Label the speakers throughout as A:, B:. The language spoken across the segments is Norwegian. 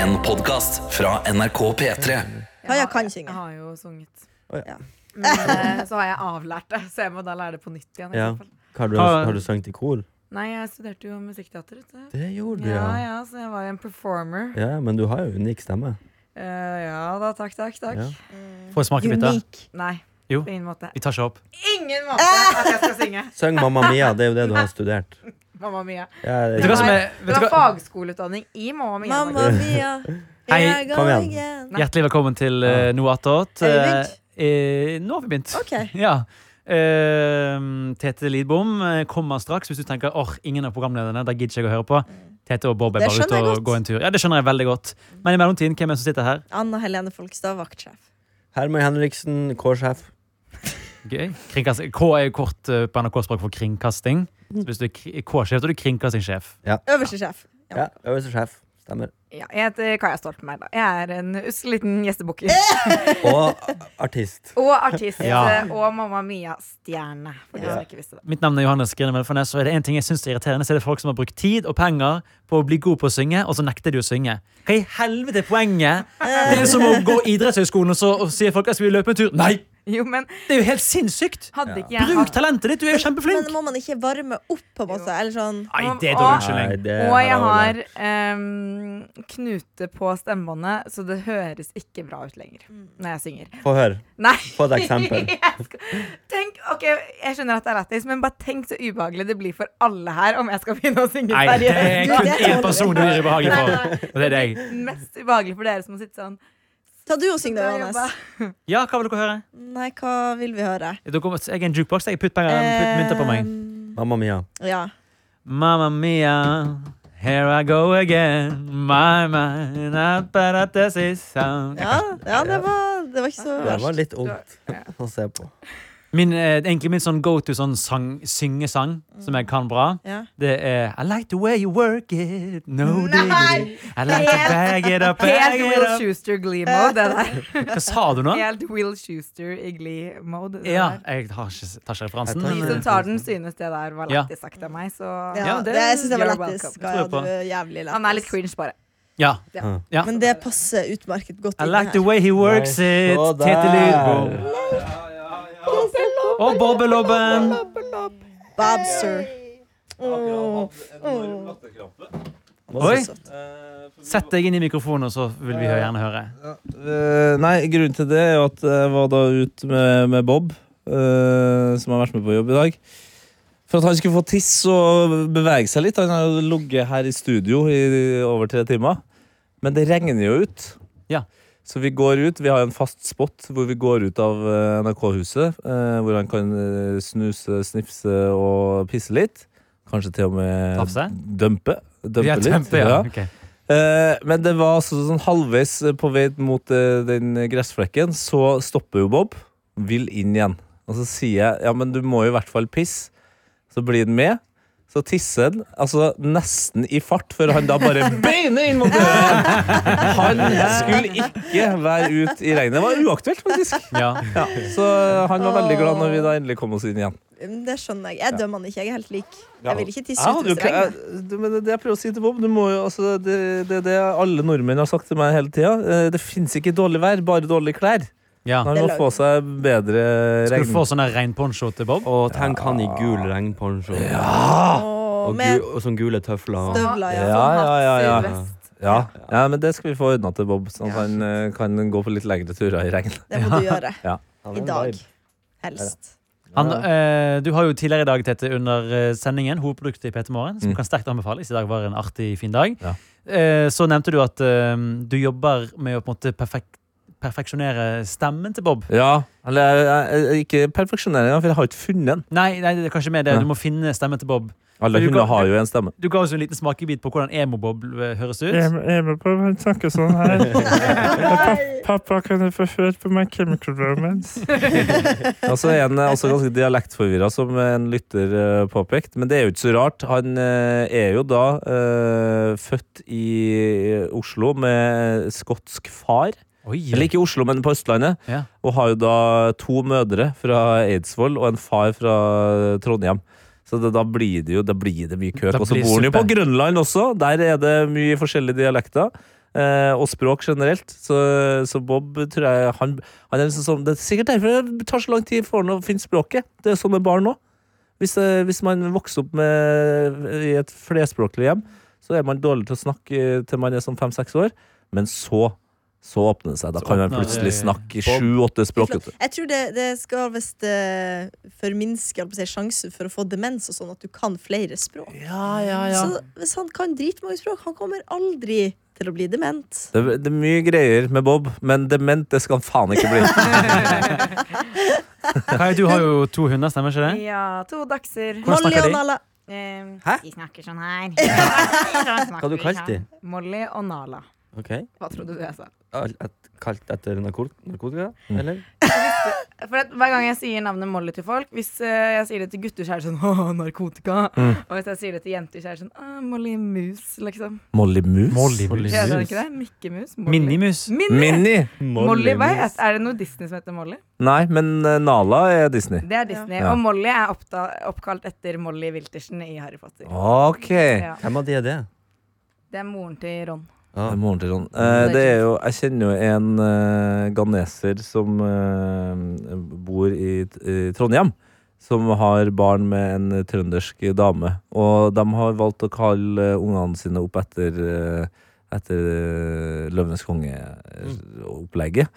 A: En podcast fra NRK P3
B: Ja, jeg kan synge.
C: Jeg har jo sunget.
D: Å, ja.
C: Men eh, så har jeg avlært det, så jeg må da lære det på nytt igjen. i
D: Ja.
C: så fall.
D: Har du,
C: Ah.
E: Ta-
D: har du sangt i kor?
C: Nei, jeg studerte jo musikkteater. vet du.
D: Det gjorde du,
C: Ja,
D: ja.
C: ja, så jeg var jo en performer.
D: Ja, Men du har jo unik stemme.
C: Eh, ja da, takk, takk, takk.
D: Ja.
E: Få en smakebytte.
B: Unik.
C: Nei,
E: Jo,
C: på ingen måte.
E: vi tar seg opp.
C: Ingen måte at jeg skal synge!
D: Søng Mamma Mia, det er jo det du har studert.
C: Mamma mia.
D: Ja,
E: Vet du hva
D: det,
E: som er,
C: Det
E: vet du
C: var
E: hva?
C: fagskoleutdanning i Mamma mia.
B: Mamma mia,
E: Hei,
B: jeg
D: kom
B: går
D: igjen.
B: igjen.
E: Hjertelig velkommen til uh, Noe attåt.
B: Har vi begynt?
E: Eh, eh, nå har vi begynt.
B: Ok.
E: Ja. Eh, Tete Lidbom eh, kommer straks hvis du tenker åh, ingen av programlederne. Da gidder ikke jeg å høre på. Tete og Bob er
B: Mm. Det
E: bare
B: skjønner
E: ute
B: jeg
E: og
B: godt. Mm.
E: går en tur. Ja, det skjønner jeg veldig godt. Men i mellomtiden, hvem er det som sitter her?
B: Anna Helene Folkestad, vaktsjef.
D: Herman Henriksen, kårsjef.
E: Gøy. Kringkast- K er jo kort eh, på NRK-språk for kringkasting.
B: Mm.
E: Så hvis du er kri- K-sjef, da er du kringkastingssjef.
B: Øverste sjef.
D: Ja, øverste sjef. Stemmer.
C: Ja, jeg heter Kaja Stoltenberg. da. Jeg er en usle liten gjestebukker.
D: Eh! Og artist.
C: Og artist. eh,
E: Ja.
C: Og Mamma Mia-stjerne. For de
D: Ja.
C: som ikke visste det.
E: Mitt navn er Johannes Grinemann Fornes, og er det en ting jeg synes er irriterende, så er det folk som har brukt tid og penger på å bli god på å synge, og så nekter de å synge. Hva i helvete er poenget? Det er som å gå idrettshøyskolen og så og sier folk at vi løpe en tur. Nei!
C: Jo, men
E: Det er jo helt sinnssykt!
C: hadde ikke jeg
E: Bruk
C: hatt
E: talentet ditt, du er jo
B: Men
E: kjempeflink!
B: må man ikke varme opp, på en måte? Eller sånn
E: Nei, det er dårlig
D: Nei,
E: unnskyldning.
D: det
C: Og jeg
D: har
C: har
D: jeg
C: em, knute på stemmebåndet, så det høres ikke bra ut lenger
B: Mm.
C: når jeg synger.
D: Få høre.
C: Nei!
D: Få et eksempel.
C: Jeg skal, tenk, ok, Jeg skjønner at det er lættis, men bare tenk så ubehagelig det blir for alle her om jeg skal begynne å synge
E: Nei, det
C: seriøst.
E: er
B: Du,
E: kun
B: det
E: én
B: tåler
E: person du
B: vi.
E: er ubehagelig
C: Nei,
E: for, og det er deg.
C: Mest ubehagelig for dere som må sitte sånn.
B: Ta du og syng da,
C: Bra
B: Johannes.
C: jobba.
E: Ja, hva vil dere høre?
B: Nei, hva vil vi høre? Ehm,
E: Dere kommer- Jeg er en jukebox, jeg. Putt penger,
C: Ehm.
E: putt mynter på meg.
D: Mamma Mia.
B: Ja.
E: Mamma mia, here I go again. My mind, not bad at this is sound.
B: Ja, ja det, var, det var ikke så
D: Det var
B: verst.
D: litt ondt å se på.
E: Min, eh, egentlig min sånn go to sånn sang, syngesang, som jeg kan bra,
B: Ja.
E: det er I like the way you work it, no diggity. I like to
C: Helt-
E: bag it up, bag
C: Helt Will
E: it up.
C: Schuster Glee-mode, det der.
E: Hva sa du nå?
C: Helt Will Schuster i Glee-mode. det
E: Ja,
C: der.
E: jeg har ikke, tar ikke referansen.
D: Jeg tar
C: De
E: Men, eh,
C: som tar den, synes det der var
E: Ja.
C: lættis sagt av meg, så
B: Ja,
E: Ja,
B: det,
E: det-
B: jeg syns det var
C: you're
B: lættis.
C: welcome.
B: Kaja,
E: Tror jeg
B: du
E: på.
B: er jævlig lættis.
C: Han er litt cringe, bare.
E: ja.
B: Men det passer utmerket godt
E: I
B: inn
E: like the
B: her.
E: way he works
D: Nei,
E: it,
D: så
E: Tete
D: der.
E: Lidbom. Og Bobbelobben.
B: Bobster.
E: Oi,
B: Så søtt.
E: sett deg inn i mikrofonen, og så vil vi gjerne høre.
F: Eh, nei, grunnen til det er jo at jeg var da ute med, med Bob, eh, som har vært med på jobb i dag. For at han skulle få tiss og bevege seg litt. Han har jo ligget her i studio i over tre timer. Men det regner jo ut.
E: Ja.
F: Så vi går ut. Vi har en fast spot hvor vi går ut av eh, NRK-huset. eh, hvor han kan eh, snuse, snifse og pisse litt. Kanskje til og med
E: Tafse?
F: dømpe. Dømpe
E: Vi er
F: litt.
E: tømte, ja. Ok.
F: Eh, Men det var altså sånn halvveis på vei mot eh, den gressflekken, så stopper jo Bob. Vil inn igjen. Og så sier jeg ja, men du må jo i hvert fall pisse. Så blir han med. Så tisser han altså nesten i fart, før han da bare beiner inn mot døren. Han skulle ikke være ute i regnet. Det var uaktuelt, faktisk.
E: Ja.
F: Ja, så eh, han var veldig glad når vi da endelig kom oss inn igjen.
B: Men Mm, Det skjønner jeg. Jeg dømmer han ikke. Jeg er helt lik.
F: Ja.
B: Jeg vil ikke tisse
F: Jeg
B: ut
F: hadde jo
B: hvis det
F: ikke,
B: regner.
F: jeg, du- men det, det jeg prøver å si til Bob, du må jo, altså, det er det, er det alle nordmenn har sagt til meg hele tida. Eh, Det fins ikke dårlig vær, bare dårlige klær.
E: ja.
F: Han
B: Det
F: må
B: lag-
F: få seg bedre
E: Skal du
F: regn.
E: få sånn der regnponcho til Bob?
D: Og tenk han i gul regnponcho
B: Åh,
D: og,
B: men
D: gu, og sånne gule tøfler. og-
B: støvler, ja.
F: Ja, ja, ja, ja.
C: Sydvest.
F: Ja. ja, men det skal vi få ordna til Bob, så han eh, kan gå på litt lengre turer i regn.
B: Det må du gjøre.
D: Han er
B: I
D: en
B: dag.
D: vibe.
B: Helst.
E: Han, eh, du har jo tidligere i dag, Tete, under eh, sendingen, hovedproduktet i PT Morgen, som
F: Mm.
E: kan sterkt anbefales. I dag var en artig, fin dag.
F: Ja.
E: Eh, så nevnte du at eh, du jobber med å på en måte perfek perfeksjonere stemmen til Bob.
F: Ja, eller jeg, jeg, ikke perfeksjoneringa, for jeg har ikke funnet den.
E: Nei, nei, det er kanskje mer det.
F: Ja.
E: Du må finne stemmen til Bob.
F: Alle
E: Men du
F: hunder
E: kan-
F: har jo en stemme.
E: Du ga oss jo en liten smakebit på hvordan emo-Bob eh, høres ut.
G: Emil han snakker sånn her. Papp- Pappa, kan jeg få høre på My Chemical Romance?
F: Og så er han eh, også ganske dialektforvirra, som en lytter eh, påpekte. Men det er jo ikke så rart. Han eh, er jo da eh, født i eh, Oslo med eh, skotsk far.
E: Oi,
F: Eller ikke i Oslo, men på Østlandet.
E: Ja.
F: Og har jo da to mødre fra Eidsvoll og en far fra Trondheim. Så det, da blir det jo da blir det mye køk.
E: Da
F: Og så
E: blir
F: bor han jo
E: suppe.
F: på Grønland også. Der er det mye forskjellige dialekter. eh, og språk generelt. Så, så Bob tror jeg han, han er liksom sånn, Det er sikkert derfor det tar så lang tid for han å finne språket. Det er sånn med barn nå. Hvis, eh, hvis man vokser opp med, i et flerspråklig hjem, så er man dårlig til å snakke eh, til man er sånn fem-seks år. Men så så åpner det seg. Da
D: Så
F: kan man
D: åpner det-
F: plutselig snakke sju-åtte språk. vet du.
B: Jeg tror det, det skal visst eh, forminske jeg holdt på å si, sjansen for å få demens, og sånn at du kan flere språk.
F: Ja, ja, ja.
B: Så hvis han kan dritmange språk, han kommer aldri til å bli dement.
F: Det, det er mye greier med Bob, men dement det skal han faen ikke bli.
E: Kai, du har jo to hunder, stemmer ikke det?
C: Ja, to dagser.
E: Hvordan
B: Molly
E: snakker
B: og
E: de?
B: Nala.
C: Hæ?
F: Hæ?
C: De snakker sånn her. Hva
F: sånn,
D: Hva du kalte de?
C: Molly og Nala.
D: Ok
C: Hva trodde du jeg sa?
D: Al- et- Kalt etter narko- narkotika? Eller?
C: For at Hver gang jeg sier navnet Molly til folk Hvis eh, jeg sier det til gutter, så er det sånn Åh, narkotika. Og hvis jeg sier det til jenter, så er det sånn Åh, Molly Mus, liksom.
F: Molly Mus?
D: Molly
C: Heter det
D: Mus.
C: ikke det? Mikkemus? Molly. Mm.
E: Minimus.
C: Minnie.
F: Minnie?
C: Molly, hva er, er det noe Disney som heter Molly?
F: Nei, men eh, Nala er Disney.
C: Det er Disney.
F: Ja.
C: Og Molly er oppta oppkalt etter Molly Wiltersen i Harry Potter.
F: Ok.
C: Ja.
D: Hvem av de er det?
C: Det er moren til Ron.
F: Det er moren til Ron. Eh, det er jo, jeg kjenner jo en eh, ganeser som eh, bor i, i Trondheim. Som har barn med en trøndersk dame. Og de har valgt å kalle eh, ungene sine opp etter, eh, etter eh, Løvenes konge-opplegget.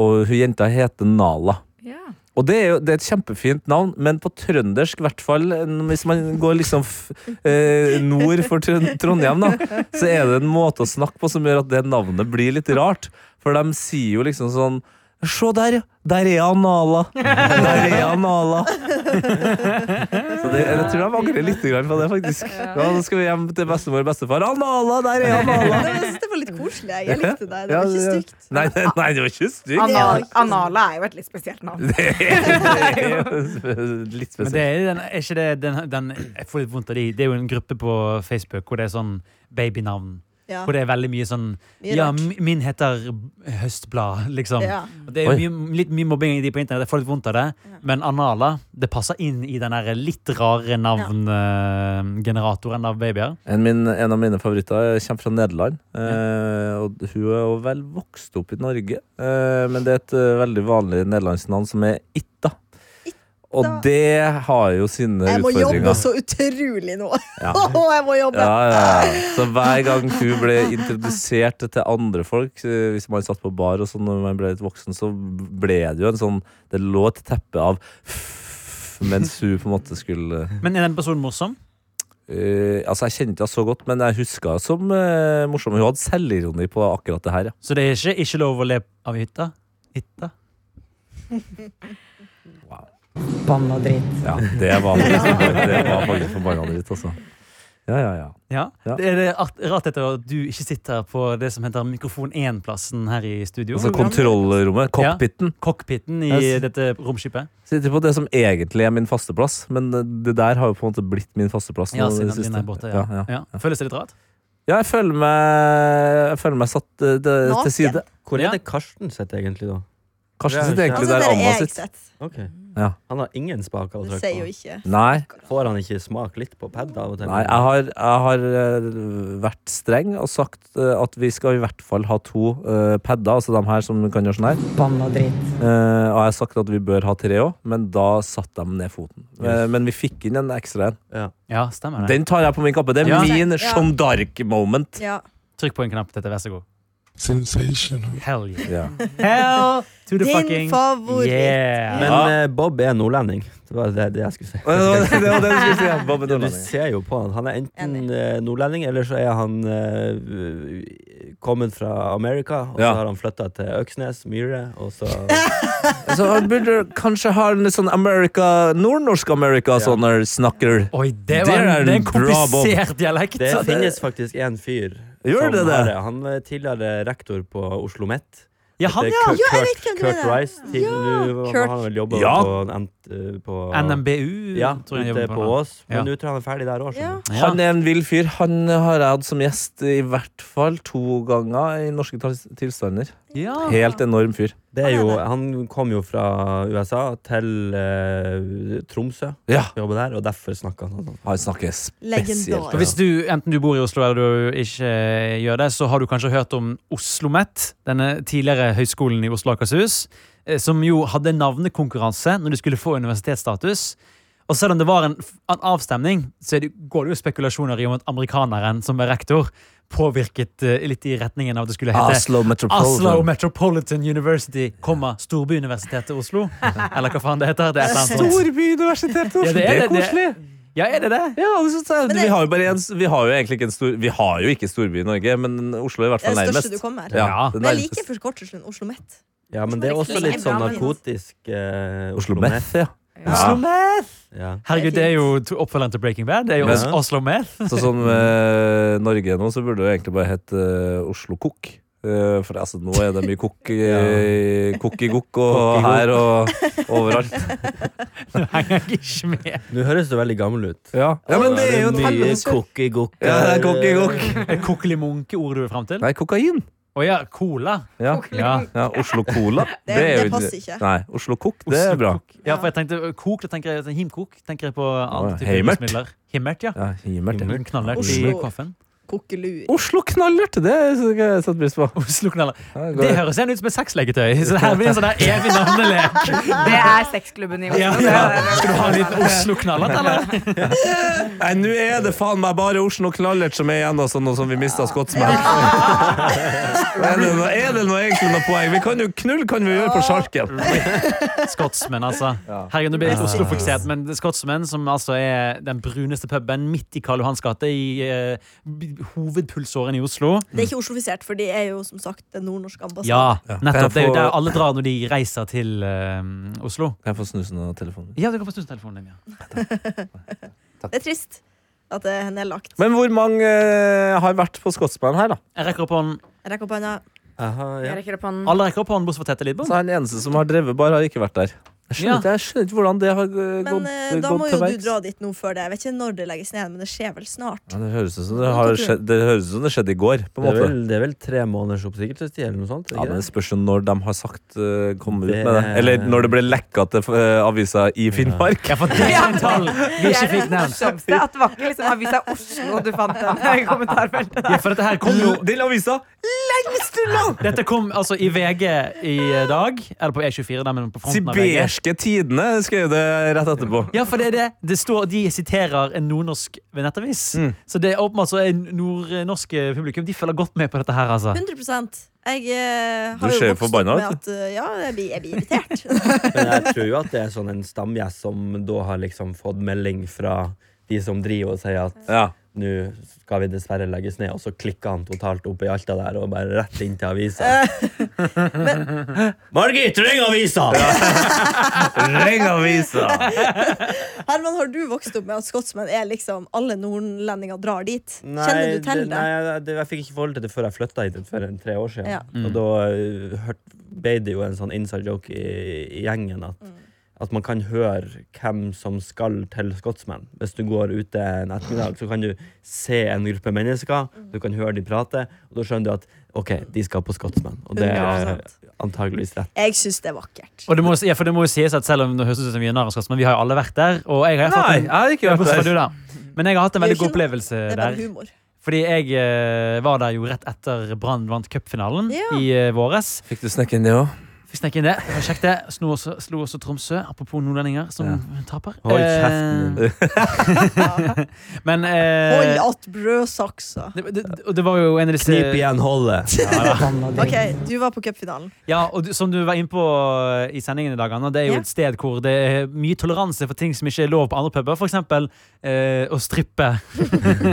F: Og hun jenta heter Nala.
C: Ja.
F: Og det er jo det er et kjempefint navn, men på trøndersk, i hvert fall n- hvis man går liksom f eh, nord for Trøn- Trondheim, da, så er det en måte å snakke på som gjør at det navnet blir litt rart. For de sier jo liksom sånn Se der, ja! Der er han Nala! Der er han Nala! Så det, jeg tror jeg angrer litt grann på det, faktisk. Ja, Nå skal vi hjem til bestemor og bestefar. Han Nala! Der er han
B: Det
F: Nala!
B: var- Jeg synes det var litt koselig. Jeg, jeg likte det. Det
F: Ja,
B: var ikke
F: det-
B: stygt.
F: Nei, det- nei, det var ikke stygt.
C: Anal Anala er jo et litt spesielt navn.
F: Det er jo litt
E: Men
F: spesielt.
E: det er, jo den, er ikke det den, den Jeg får litt vondt av de. Det er jo en gruppe på Facebook hvor det er sånn babynavn.
B: Ja.
E: Hvor det er veldig mye sånn
B: Mye
E: Ja,
B: rart.
E: mi- min heter Høstblad, liksom.
B: Ja.
E: Og Det er
F: Oi.
E: jo mye, litt mye mobbing i de på internett. Jeg får litt vondt av det. Men Anala det passer inn i den der litt rare navngeneratoren av babyer.
F: En, min, en av mine favoritter kommer fra Nederland. Eh, og hun er jo vel vokst opp i Norge, eh, men det er et eh, veldig vanlig nederlandsk navn som er Itta. Og det har jo sine
B: Jeg må jobbe
F: utfordringer.
B: så utrolig nå.
F: Ja.
B: Åh, jeg må jobbe!
F: Ja, ja, ja. Så hver gang hun ble introdusert til andre folk, eh, hvis man satt på bar og sånn når man ble litt voksen, så ble det jo en sånn Det lå et teppe av mens hun på en måte skulle
E: Men er den personen morsom?
F: Eh, altså Jeg kjente henne så godt, men jeg huska henne som eh, morsom. Hun hadde selvironi på akkurat det her. Ja.
E: Så det er ikke, ikke lov å le av hytta? Hytta?
F: Ja, det var faktisk, det var faktisk forbanna dritt, altså. Ja, ja, ja.
E: Ja.
F: Ja.
E: Det er det art, rart etter at du ikke sitter på det som heter mikrofon 1-plassen her i studio.
F: Altså kontrollrommet, cockpiten.
E: Cockpiten i
F: Jeg s-
E: dette romskipet.
F: Sitter på det som egentlig er min faste plass, men eh, det der har jo på en måte blitt min faste plass.
E: Ja,
F: nå i
E: siden
F: det siste.
E: din er borte. Ja.
F: Ja, ja.
E: Ja. Føles det litt rart?
F: ja jeg, føler meg, jeg føler meg satt eh, det,
B: Naken.
F: til side.
D: Hvor er
E: Ja.
D: det Karsten sitter egentlig, da?
F: Karsten sitter
D: Det er jo
F: egentlig
B: Altså, det
F: der
B: er
F: Anna
B: jeg
F: sitter.
B: sett.
D: Ok
F: Ja.
D: Han har ingen spaker å
B: Mm. Det
D: trykke
B: sier jo
D: på.
B: ikke
F: Nei,
D: Får han ikke smak litt på pad av og til?
F: Nei, jeg har, jeg har eh, vært streng og sagt eh, at vi skal i hvert fall ha to uh, padder, altså de her som kan gjøre sånn her. Eh, og jeg har sagt at vi bør ha tre òg, men da satte de ned foten. Eh, men vi fikk inn en ekstra en.
E: Ja, stemmer det.
F: Den tar jeg på min kappe. Det er
E: Ja.
F: min
B: Ja.
F: Jeanne d'Arc-moment.
B: Ja.
E: Trykk på en knapp, dette. Vær så god.
G: Sensational.
E: Hell yeah.
F: Ja.
E: Hell to the
B: Din
E: fucking
B: favoritt.
E: yeah.
D: Men
F: Ja.
D: eh, Bob er nordlending. Det var det, det jeg skulle si.
F: Det var Eh, det var det du skulle si. ja. Hva med
D: Du
F: nordlending?
D: ser jo på han. Han er enten
B: Enig.
D: eh, nordlending, eller så er han eh, kommet fra Amerika, og
F: Ja.
D: så har han flytta til Øksnes, Myhre, og så
F: Så han burde kanskje ha en litt sånn America, nordnorsk Amerika sånn her snakker.
E: Oi, det,
F: Det
E: var,
F: er en
E: en- det er en
F: bra bomb.
E: komplisert dialekt.
D: Det
E: Så-
D: finnes faktisk en fyr
F: Gjør
D: som
F: det det?
D: har Han var tidligere rektor på Oslo Met.
E: Ja, han,
D: Det er
E: ja.
D: Kurt,
B: Ja, jeg vet hvem
D: Kurt,
B: du
D: Kurt
B: mener.
D: Rice. Til, nå
B: Kurt.
D: har han vel jobba
F: Ja.
D: på, en ent- eh, på
E: NMBU,
D: ja,
E: tror jeg han
D: ute
E: jobber
D: på
E: på. nå.
D: Ås. Men
E: Ja.
D: nå tror jeg han er ferdig der òg.
B: Ja.
E: Ja.
F: Han er en vill fyr. Han har jeg hatt som gjest i hvert fall to ganger i norske tals- tilstander.
E: Ja.
F: Helt enorm fyr.
D: Det er jo, han kom jo fra USA til eh, Tromsø,
F: Ja.
D: jobber der, og derfor snakker han sånn.
F: Han snakker spesielt.
B: Legendarisk.
E: Og hvis du, enten du bor i Oslo eller du ikke eh, gjør det, så har du kanskje hørt om OsloMet, denne tidligere høyskolen i Oslo og Akershus, eh, som jo hadde navnekonkurranse når de skulle få universitetsstatus. Og selv om det var en, f- en avstemning, så er det, går det jo spekulasjoner i om at amerikaneren som var rektor, påvirket eh, litt i retningen av at det skulle
D: Ah,
E: hete
F: Oslo
E: Oslo
F: Metropolitan.
E: Metropolitan University, komma, Storbyuniversitetet Oslo. Eller hva faen det heter. Det er et eller annet sånt.
F: Storbyuniversitetet!
E: Ja,
F: det,
E: det er
F: er
E: det, det-
F: koselig!
E: Ja, er det det?
F: Ja, det synes jeg.
B: Men det-
F: Vi har jo bare en, vi har jo egentlig ikke en stor Vi har jo ikke storby i Norge, men Oslo er i hvert
B: Det er
F: fall
B: det
F: nærmest.
B: største du kommer.
F: Ja, det
B: Men
F: nærmeste.
B: jeg liker forkortelsen Oslo Met.
D: Ja, men det er også litt sånn narkotisk eh,
F: Oslo Meth, ja.
C: Ja.
D: Ja.
E: Herregud, det er jo to- oppfølgeren til Breaking Bad. Det er jo
F: Men-
E: Os- Oslo Meth.
F: Så som eh, Norge nå, så burde det jo egentlig bare hett eh, Oslo Kokk. Eh, for altså, nå er det mye kokk eh, kokk i kokk og her og overalt.
E: Du henger jeg ikke med.
D: Nå høres du veldig gammel ut.
F: Ja, men det er jo
D: mye
F: tannens-
D: kokki-gokk.
F: Ja, det er kokk i kokk.
E: Er det kokkeli munke-ordet du er frem til?
F: Nei, kokain.
E: Å ja, cola.
F: Ja.
E: Ja.
F: ja, Oslo Cola.
B: Det,
F: er jo
B: det passer ikke.
F: Nei, Oslo Kokk, det er bra.
E: ja, for jeg tenkte kok, da tenker jeg himkok. Tenker jeg på andre
F: Ja,
E: typer
F: heimert.
E: rusmidler. Himmert, ja.
F: Ja, himmelt, ja.
E: En knallert i
B: Oslo.
E: kaffen.
B: Kokkelur.
F: Oslo knallert, det synes jeg jeg setter pris på.
E: Oslo-knaller.
F: Ja,
E: Det høres igjen ut som et sexleketøy. Så det her blir en sånn der evig navnelek.
C: Det er sexklubben i Oslo.
E: Ja,
C: Det
E: ja.
C: er-
E: Skal du ha en liten Oslo-knallert, eller?
F: Nei, nå er det faen meg bare Oslo Knallert som er igjen, altså, nå som vi mista Skotsman. er, det noe, er det noe egentlig noe poeng? Vi kan jo knull kan vi gjøre på sjarken.
E: Skotsmenn, altså. Herregud, nå blir jeg litt Oslo-fokusert, men Skotsmenn, som altså er den bruneste puben midt i Karl Johans gate, i eh, hovedpulsåren i Oslo.
B: Det er ikke oslofisert, for de er jo som sagt den nordnorske ambassaden.
E: Ja,
F: Kan jeg
E: nettopp. Det er jo
F: få-
E: der alle drar når de reiser til eh, Oslo.
F: Kan jeg få snusen av telefonen?
E: Ja, du kan få snustelefonen din. Ja.
B: Det er trist at det er nedlagt.
F: Men hvor mange eh, har vært på Skotsman her, da?
E: Jeg rekker opp hånden.
B: Jeg rekker opp hånda.
D: Aha, ja.
C: Jeg rekker opp hånden.
E: Alle rekker opp hånden, bortsett fra Tete Lidbom.
F: Så han eneste som har drevet bar, har ikke vært der. Jeg skjønner,
E: Ja.
F: ikke, jeg skjønner ikke hvordan det har eh,
B: Men
F: gått,
B: eh, da
F: gått
B: må jo
F: til
B: du
F: verks.
B: dra dit nå før det. Jeg vet ikke når det legges ned, men det skjer vel snart.
F: Ja, Det høres ut som det, har skjedd, det høres ut som det skjedde i går. på en
D: Det, er
F: måte
D: vel, det er vel tre måneders oppsigelsestid eller noe
F: Ja,
D: sånt? Ikke
F: men Det
D: det?
F: spørs jo når de har sagt uh, komme ut
D: Det-
F: med det. Eller når det ble lekka til eh, avisa i Finnmark.
E: Ja, for det er en tall vi ikke fikk nevnt.
C: morsomste at det var ikke liksom avisa Oslo du fant den i kommentarfeltet.
E: Ja, for dette her kom jo
F: Til avisa!
E: Dette kom altså i VG i eh, dag. Eller på E24, der, men på fronten av VG.
F: Sibirske Tidene skrev det rett etterpå.
E: Ja, for det er det. det står, de siterer en nordnorsk nettavis.
F: Mm.
E: Så det er åpenbart så er nordnorske publikum De følger godt med på dette her, altså.
B: 100 Jeg eh,
F: Du ser
B: har jo vokst opp
F: forbanna
B: med
F: ut.
B: at eh, Ja, jeg blir, jeg blir irritert.
D: Men jeg tror jo at det er sånn en stamgjest som da har liksom fått melding fra de som driver og sier at
F: Ja.
D: nå skal vi dessverre legges ned, og så klikker han totalt opp i Alta der og bare rett inn til avisa. Margit, ring avisa!
F: Ring avisa!
B: Herman, har du vokst opp med at skotsmenn er liksom alle nordlendinger drar dit? Kjenner du til
D: det-
B: det?
D: Nei, jeg- det, jeg fikk ikke forhold til det før jeg flytta hit for en tre år siden.
B: Ja.
E: Mm.
D: Og da eh, hørt, ble det jo en sånn inside joke i, i gjengen at,
B: Mm.
D: at man kan høre hvem som skal til Skotsmenn. Hvis du går ute en ettermiddag, så kan du se en gruppe mennesker,
B: Mm.
D: du kan høre de prate, og da skjønner du at OK, de skal på Skotsmenn. Og det er
B: 100%.
D: antageligvis rett.
B: Jeg syns det er vakkert.
E: Og det må, ja, for det må jo sies at selv om det høres ut som vi er narrskap, men vi har jo alle vært der. Og jeg har
F: Nei,
E: fått
F: jeg
E: en,
F: har ikke
E: bortsett
F: vært
E: fra du,
F: der.
E: da. Men jeg har hatt en
B: Det er
E: veldig
B: jo ikke
E: god
B: noe-
E: opplevelse
B: Det er
E: der.
B: bare humor.
E: Fordi jeg eh, var der jo rett etter Brann vant cupfinalen
B: Ja.
E: i eh, våres.
F: Fikk du snekke inn det òg?
E: Fikk snekke inn det. Det var Kjekt det. Slo også, slo også Tromsø, apropos nordlendinger som taper.
D: Hold kjeften din.
E: Eh, men eh,
B: Hold att brødsaksa.
E: det, det, og det var jo en av disse
D: Knip igjen holdet.
B: OK, du var på cupfinalen.
E: Ja, og du, som du var inne på eh, i sendingen i dag, Anna, det er jo
B: Ja.
E: et sted hvor det er mye toleranse for ting som ikke er lov på andre puber. For eksempel eh, å strippe.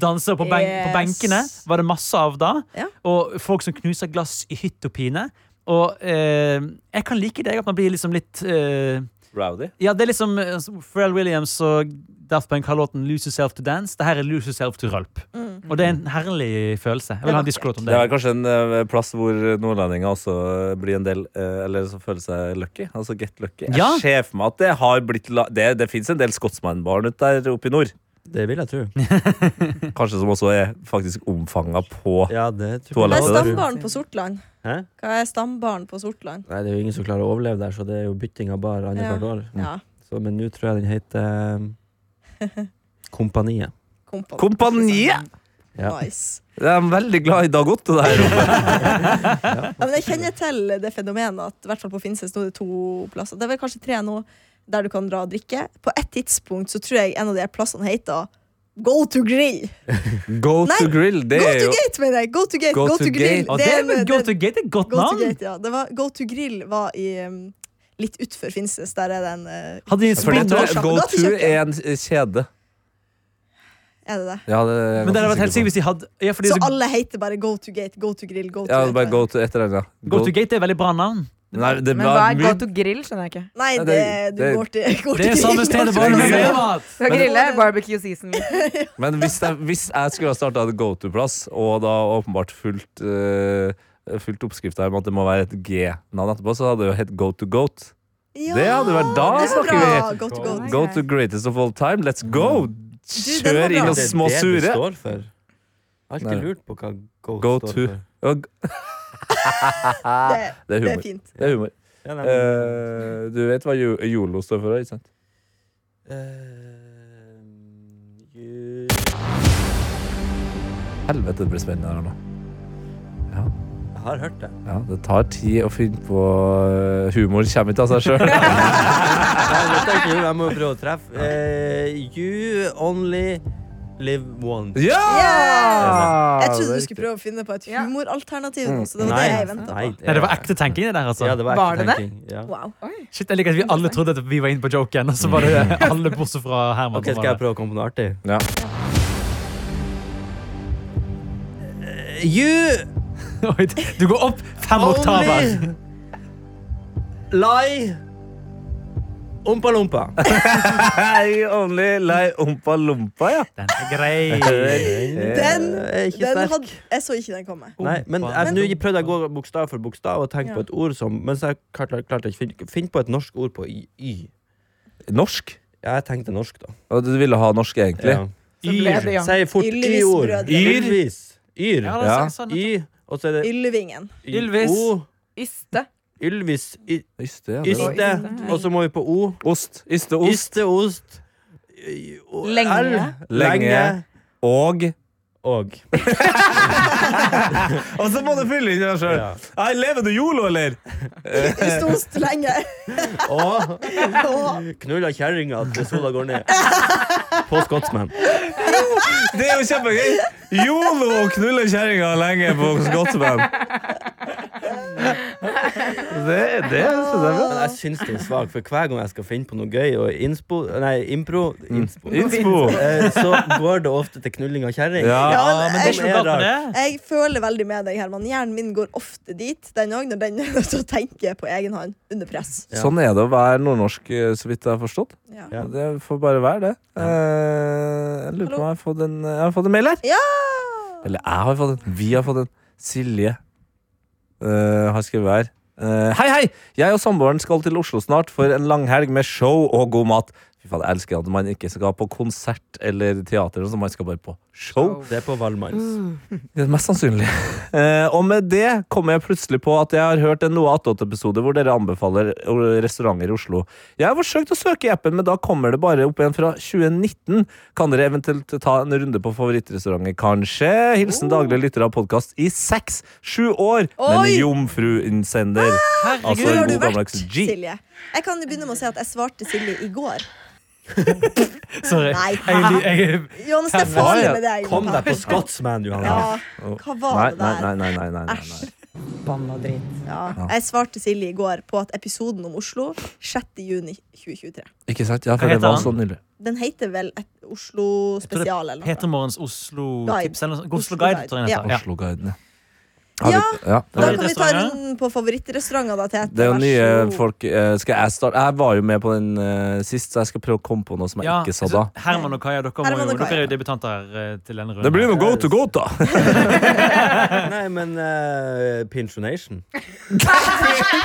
E: Danse på, ben på
B: Yes.
E: benkene var det masse av da.
B: Ja.
E: Og folk som knuser glass i hytt og pine. Og eh, jeg kan like deg at man blir liksom litt eh,
F: Rowdy.
E: Ja, det er liksom eh, altså, Pharrell Williams og Daft Punk har låten 'Lose Yourself to Dance'. Det her er 'Lose Yourself to Rølp'. Og det er en herlig følelse. Jeg vil ha en diskolåt om
F: Det
E: det.
F: er kanskje en eh, plass hvor nordlendinger også eh, blir en del eh, Eller som føler seg lucky. Altså get lucky.
E: Ja.
F: Jeg ser for meg at det har blitt la Det, det fins en del skotsmannbarn ute der oppe i nord.
D: Det vil jeg tro.
F: Kanskje som også er faktisk omfanga på
D: Ja, det tror
F: Toalett Toalettet
B: Hva er
F: der.
B: stambaren på Sortland?
D: Hæ?
B: Hva er stambaren på Sortland?
D: Nei, det er jo ingen som klarer å overleve der, så det er jo bytting av bar annethvert
B: Ja.
D: år.
B: Ja,
D: Så, men nå tror jeg den heter eh, Kompaniet.
B: kompani.
F: Kompaniet!
D: Ja.
B: Nice.
F: Jeg er veldig glad i Dag Otto der.
B: Ja, men jeg kjenner til det fenomenet at i hvert fall på Finnsnes nå er det to plasser. Det er vel kanskje tre nå der du kan dra og drikke. På et tidspunkt så tror jeg en av de her plassene heter Go to grill.
F: Go
B: Nei,
F: to grill, det
B: Go
F: er
B: to
F: jo
B: gate, mener jeg! Go to gate,
F: Go
B: go,
F: to
B: to, grill.
F: gate.
E: Og det
B: er
E: med
B: en-
E: Go to Gate er et godt
B: Go to
E: navn!
B: Gate, ja. Det var, go to Grill var i um, litt utfor Finnsnes. Der er den uh,
E: Hadde de en
F: For det
E: sponsor-
F: tror jeg
B: Gatekjøkken.
F: Go to er en eh, kjede.
B: Er det det?
F: Ja, det er jeg
E: Men det
F: ganske
E: hadde vært
F: sikker
E: helt sykt hvis de hadde ja, fordi
B: Så
E: så-
B: alle heter bare Go to Gate, Go to Grill, Go
F: på.
B: to
F: Ja,
B: Gate.
F: bare go to et eller annet.
E: Go to Gate er et veldig bra navn.
F: Nei, det
C: Men hva
F: var
C: er
F: mye
C: go to grill, skjønner jeg ikke.
B: Nei,
F: Ja, det-
B: det, du
F: det-
B: går til, går
E: Det er
B: til
E: samme
B: grill,
E: sted.
B: går
E: det
B: til
E: er bare
B: grill.
E: med
F: grill.
E: mat.
C: Skal grille barbecue season.
F: Men hvis jeg, hvis jeg skulle ha starta et go to-plass, og da åpenbart fulgt, eh, fulgt oppskrifta om at det må være et G-navn etterpå, så hadde det jo hett go to goat.
B: Ja,
F: Det hadde vært- da
B: det var
F: snakker
B: bra. Go to
C: Nei.
B: Goat.
F: Go to greatest of all time, let's go!
B: den var
F: Kjør
B: bra.
F: inn oss
D: Det er
F: små
D: det det
F: sure.
D: står for. Jeg har
F: Nei.
D: alltid lurt på hva Go,
F: Go
D: står
F: to.
D: for.
F: Og-
B: Det,
F: Det er
B: det er
F: Ah, humor.
B: fint.
F: Det er humor.
D: Ja, nei, men-
F: Eh, du vet hva yo- Yolo står for, ikke sant?
D: Eh, ju-
F: Helvete, det blir spennende her nå.
D: Jeg har hørt det.
F: Ja, det tar tid å finne på eh, Humor kommer ikke av seg sjøl.
D: Jeg, vet ikke, jeg må prøve å treffe. Eh, you only live once.
F: Ja!
B: Jeg trodde
F: Ah, Det er
B: du skulle
F: riktig. Mm.
B: prøve å finne på et
C: Ja.
B: humoralternativ nå, så det var det jeg ventet på.
E: Nei, det var ekte tenking, det der. altså
D: Ja, det var,
C: Var det det?
D: det? Ja.
B: Wow.
E: Shit, Jeg liker at vi alle trodde at vi var inne på joken, og så var det alle bortsett fra Herman.
D: Ok, Skal jeg prøve å komme på noe artig?
F: Ja.
D: Eh, You
E: Oi, du går opp fem oktaver.
D: only lie Ompa lompa.
F: I only lie ompa lompa, ja.
E: Den er grei.
F: Den
B: Den,
D: Eh, ikke
B: den
D: sterk.
B: hadde, jeg så ikke den komme.
D: Nei, men jeg, nå prøvde jeg å gå bokstav for bokstav og tenke
B: Ja.
D: på et ord som Mens jeg klarte, klarte ikke finne finn på et norsk ord på y. y.
F: Norsk?
D: Ja, jeg tenkte norsk, da.
F: Og du ville ha norsk, egentlig?
D: Ja.
C: Så ble det ja.
D: Si fort
B: Ylvis
D: y-ord.
B: brødre.
D: Ylvis. Yr.
E: Ja, det
F: Ja.
E: er sånn.
D: Y, og så er det
B: Yllevingen.
E: Ylvis.
D: O.
C: Yste.
D: Ylvis. Y,
F: Yste, ja. det var-
D: yste. Og så må vi på O.
F: Ost. Yste, ost.
D: Yste, ost. Y- o-
C: Lenge.
D: L.
F: Lenge.
D: Lenge.
F: Og
D: Og.
F: Og så må du fylle inn deg sjøl.
D: Ja.
F: Nei, Lever du jolo, eller?
B: Det sto ost lenge.
D: Og
B: Og
D: knulla kjerringa til sola går ned. På Scotsman.
F: Det er jo kjempegøy! Jolo og knulle kjerringa lenge på Skotsman. Det, det synes jeg er bra.
D: Men jeg syns det er svakt, for hver gang jeg skal finne på noe gøy og inspo, nei, impro, inspo,
F: Inspo.
D: eh, så går det ofte til knulling av kjerring.
F: Ja.
B: Ja, men
E: Men det er ikke noe galt med det.
B: Jeg føler veldig med deg, Herman. Hjernen min går ofte dit. Den òg, når den er nødt til å tenke på egen hånd under press.
D: Ja.
F: Sånn er det å være nordnorsk, eh, så vidt jeg har forstått.
B: Ja.
D: Ja.
F: Det får bare være det. Eh, Jeg lurer på om jeg har fått en, jeg har fått en mail her.
B: Ja!
F: Eller jeg har fått en. Vi har fått en. Silje eh, har skrevet her. Eh, hei, hei! Jeg og samboeren skal til Oslo snart for en langhelg med show og god mat. Fy faen, Jeg elsker at man ikke skal på konsert eller teater, så man skal bare på show.
D: Det er på Valmanns.
F: Det er mest sannsynlig. Eh, og med det kommer jeg plutselig på at jeg har hørt en Noe attåt-episode hvor dere anbefaler restauranter i Oslo. Jeg har forsøkt å søke i appen, men da kommer det bare opp igjen fra 2019. Kan dere eventuelt ta en runde på favorittrestauranter, kanskje? Hilsen daglig lytter av podkast i seks, sju år, men
B: Oh. Oi! Ah!
F: jomfruinnsender. Altså
B: Hvor
F: en
B: har du
F: god
B: vært,
F: gammeldags G.
B: Silje? Jeg kan begynne med å si at jeg svarte Silje i går.
E: Sorry.
B: Nei.
E: Jeg, jeg,
B: Johannes, det er farlig med deg.
D: Kom deg
B: Johan.
D: på Scotsman, Johanna.
B: Ja, hva var
F: Nei,
B: det
F: nei,
B: der?
F: nei, nei, nei, nei, nei.
B: Æsj.
F: nei.
B: Ja. Jeg svarte Silje i går på at episoden om Oslo 6. juni 2023
F: Ikke sant? Ja, for det
E: Hva
F: var sånn
E: heter
F: så nylig.
B: Den heter vel et Oslo
E: tror det er
B: spesial eller
E: Peter
B: noe.
E: Morgens Oslo-tips
B: Guide.
E: eller noe sånt. Oslo
B: Oslo
E: Guide,
B: Guide.
E: tror jeg den heter. Ja.
F: Oslo-guiden, ja.
B: Ja,
F: Har vi- ja.
B: Da kan vi ta
E: Favorittrestauranter?
B: runden på favorittrestauranter, da, Tete.
F: Det er jo
B: Vær så
F: nye
B: god.
F: folk eh, Skal jeg starte? Jeg var jo med på den eh, sist, så jeg skal prøve å komme på noe som jeg
E: Ja,
F: ikke sa da.
E: så Herman og Kaja, dere, må
B: Herman
E: jo,
B: og Kaja.
E: dere er jo debutanter eh, til denne
F: noe
E: runden.
F: go to go, da!
D: Nei, Nei, men eh, Pinchonation.